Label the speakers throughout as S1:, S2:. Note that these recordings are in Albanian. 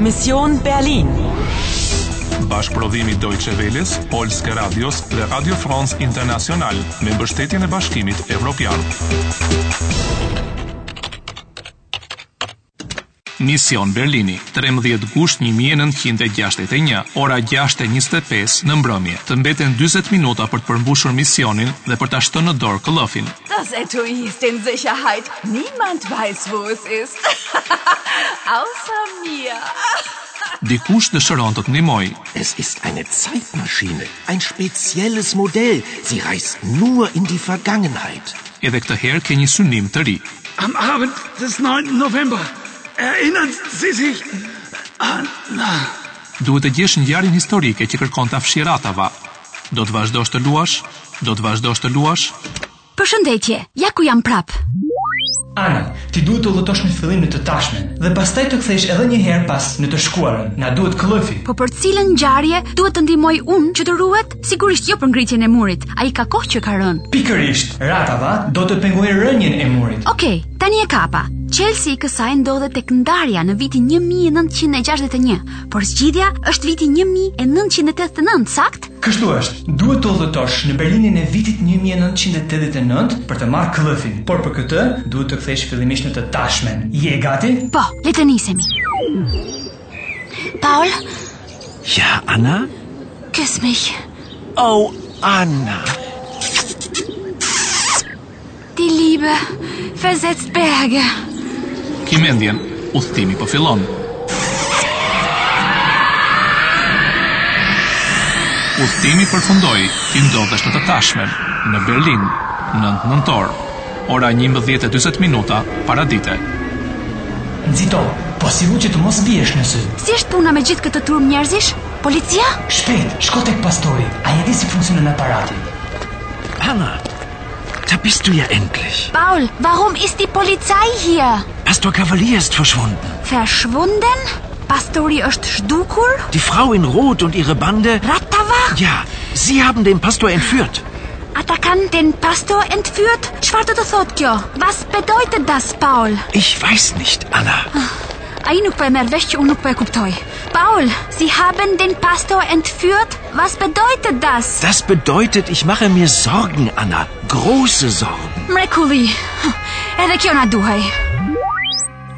S1: Mission Berlin.
S2: Bashkëprodhimi Deutsche Welles, Polske Radios dhe Radio France International me mbështetjen e Bashkimit Evropian. Mision Berlini, 13 gusht 1961, ora 6:25 në mbrëmje. Të mbeten 40 minuta për të përmbushur misionin dhe për ta shtënë në dorë këllëfin.
S3: Das Etui ist in Sicherheit. Niemand weiß, wo es ist. Außer mir.
S2: Dikush dëshiron të të ndihmojë.
S4: Es ist eine Zeitmaschine, ein spezielles Modell. Sie reist nur in die Vergangenheit.
S2: Edhe këtë herë ke një synim të ri.
S5: Am Abend des 9. November. Erinnern Sie sich an...
S2: Duhet të gjesh ngjarjen historike që kërkon ta fshiratava. Do të vazhdosh të luash? Do të vazhdosh të luash?
S6: Përshëndetje, ja ku jam prap.
S7: Ana, ti duhet të lëtosh në fillim në të tashmen dhe pastaj të kthesh edhe një herë pas në të shkuarën. Na duhet klëfi.
S6: Po për cilën ngjarje duhet të ndihmoj unë që të ruhet? Sigurisht jo për ngritjen e murit. Ai ka kohë që ka rënë.
S7: Pikërisht, Ratava do të pengojë rënien e murit.
S6: Okej, tani e kapa. Chelsea i kësaj ndodhe tek ndarja në vitin 1961, por zgjidhja është viti 1989, sakt?
S7: Kështu është, duhet të udhëtosh në Berlinin e vitit 1989 për të marrë klëfin, por për këtë duhet të kthesh fillimisht në të tashmen. Je gati?
S6: Po, le të nisemi. Paul,
S4: Ja, Anna?
S6: küss mich.
S4: Oh, Anna.
S6: Die Liebe versetzt Berge.
S2: Ki mendjen, udhtimi po fillon. Udhtimi përfundoi, ti ndodhesh në të tashmen, në Berlin, 9 nëntor, ora 11:40 minuta para dite.
S7: Nxito, po sigur që të mos biesh në sy.
S6: Si është puna me gjithë këtë turm njerëzish? Policia?
S7: Shpejt, shko tek pastori. Ai e di si funksionon aparati.
S4: Anna, da bist du ja endlich.
S6: Paul, warum ist die Polizei hier?
S4: Pastor Cavalier ist verschwunden.
S6: Verschwunden? Pastori është zhdukur?
S4: Die Frau in Rot und ihre Bande.
S6: Ratava?
S4: Ja, sie haben den Pastor entführt.
S6: Ata kanë den Pastor entführt? Çfarë do të thotë kjo? Was bedeutet das, Paul?
S4: Ich weiß nicht, Anna.
S6: Ai nuk po e merr vesh që unë nuk po e kuptoj. Paul, Sie haben den Pastor entführt? Was bedeutet das?
S4: Das bedeutet, ich mache mir Sorgen, Anna. Große Sorgen.
S6: Mrekulli. Huh, Edhe kjo na duhej.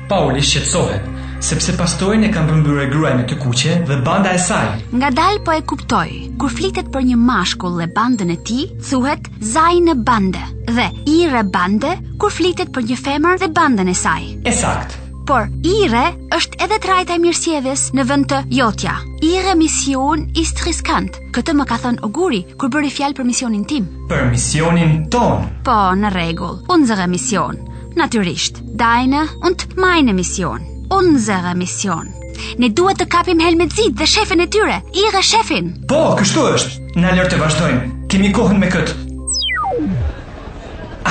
S7: Pauli shqetësohet, sepse pastorin e kanë përmbyrë gruaja me të kuqe dhe banda e saj.
S6: Nga dal po e kuptoj. Kur flitet për një mashkull dhe bandën e tij, thuhet zajnë bande dhe ire bande kur flitet për një femër dhe bandën e saj.
S7: E sakt.
S6: Por ire është edhe trajta e mirësjelljes në vend të jotja. Ire mision ist riskant. Këtë më ka thënë Oguri kur bëri fjalë për misionin tim.
S7: Për misionin ton.
S6: Po, në rregull. Unsere Mission. Natyrisht. Deine und meine Mission. Unsere Mission. Ne duhet të kapim Helmezit dhe shefin e tyre. Ihre shefin.
S7: Po, kështu është. Na lër të vazhdojmë. Kemi kohën me këtë.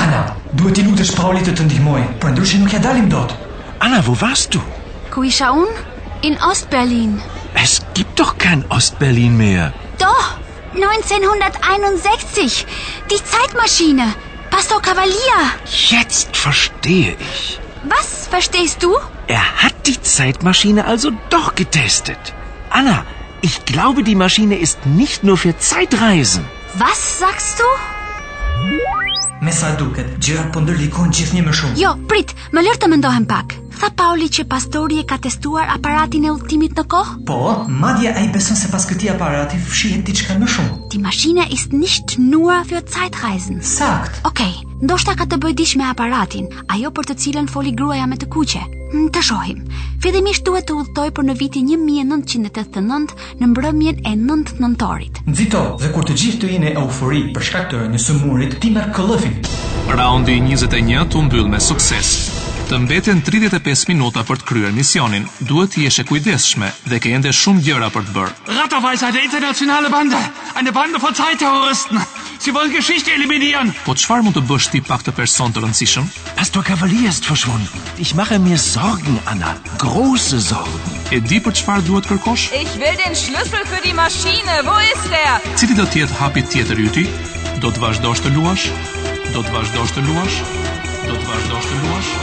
S7: Ana, duhet i lutesh Paulit të të ndihmojë, por ndryshe nuk ja dalim dot.
S4: Anna, wo warst du?
S6: Ku isha unë? In Ost-Berlin.
S4: Es gibt doch kein Ostberlin mehr.
S6: Doch, 1961. Die Zeitmaschine. Pastor Cavalier.
S4: Jetzt verstehe ich.
S6: Was verstehst du?
S4: Er hat die Zeitmaschine also doch getestet. Anna, ich glaube, die Maschine ist nicht nur für Zeitreisen.
S6: Was sagst du?
S7: Me sa duket, gjërat po ndërlikojnë gjithnjë më shumë.
S6: Jo, prit, më lër të mendohem pak. Tha Pauli që pastori e ka testuar aparatin e udhëtimit në kohë?
S7: Po, madje ai beson se pas këtij aparati fshihet diçka më shumë.
S6: Die Maschine ist nicht nur für Zeitreisen.
S7: Sakt.
S6: Okej, ndoshta ka të bëj dish me aparatin, ajo për të cilën foli gruaja me të kuqe. Mm, Të shohim. Fillimisht duhet të udhtoj për në vitin 1989 në mbrëmjen e 9 nëntorit.
S7: Nxito, dhe kur të gjithë të jeni eufori për shkak të një sëmurit, ti merr këllëfin.
S2: Raundi 21 u mbyll me sukses. Të mbeten 35 minuta për të kryer misionin. Duhet të jesh e kujdesshme dhe ke ende shumë gjëra për të bërë.
S5: Ratterweis eine internationale Bande. Eine Bande von Zeitterroristen. Sie wollen Geschichte eliminieren.
S2: Po çfarë mund të bësh ti pak të person të rëndësishëm?
S4: Pastor Cavalier ist verschwunden. Ich mache mir Sorgen, Anna. Große Sorgen.
S2: E di për çfarë duhet kërkosh?
S3: Ich will den Schlüssel für die Maschine. Wo ist er?
S2: Cili do të jetë hapi tjetër i yty? Do të vazhdosh të luash? Do të vazhdosh të luash? Do të vazhdosh të luash?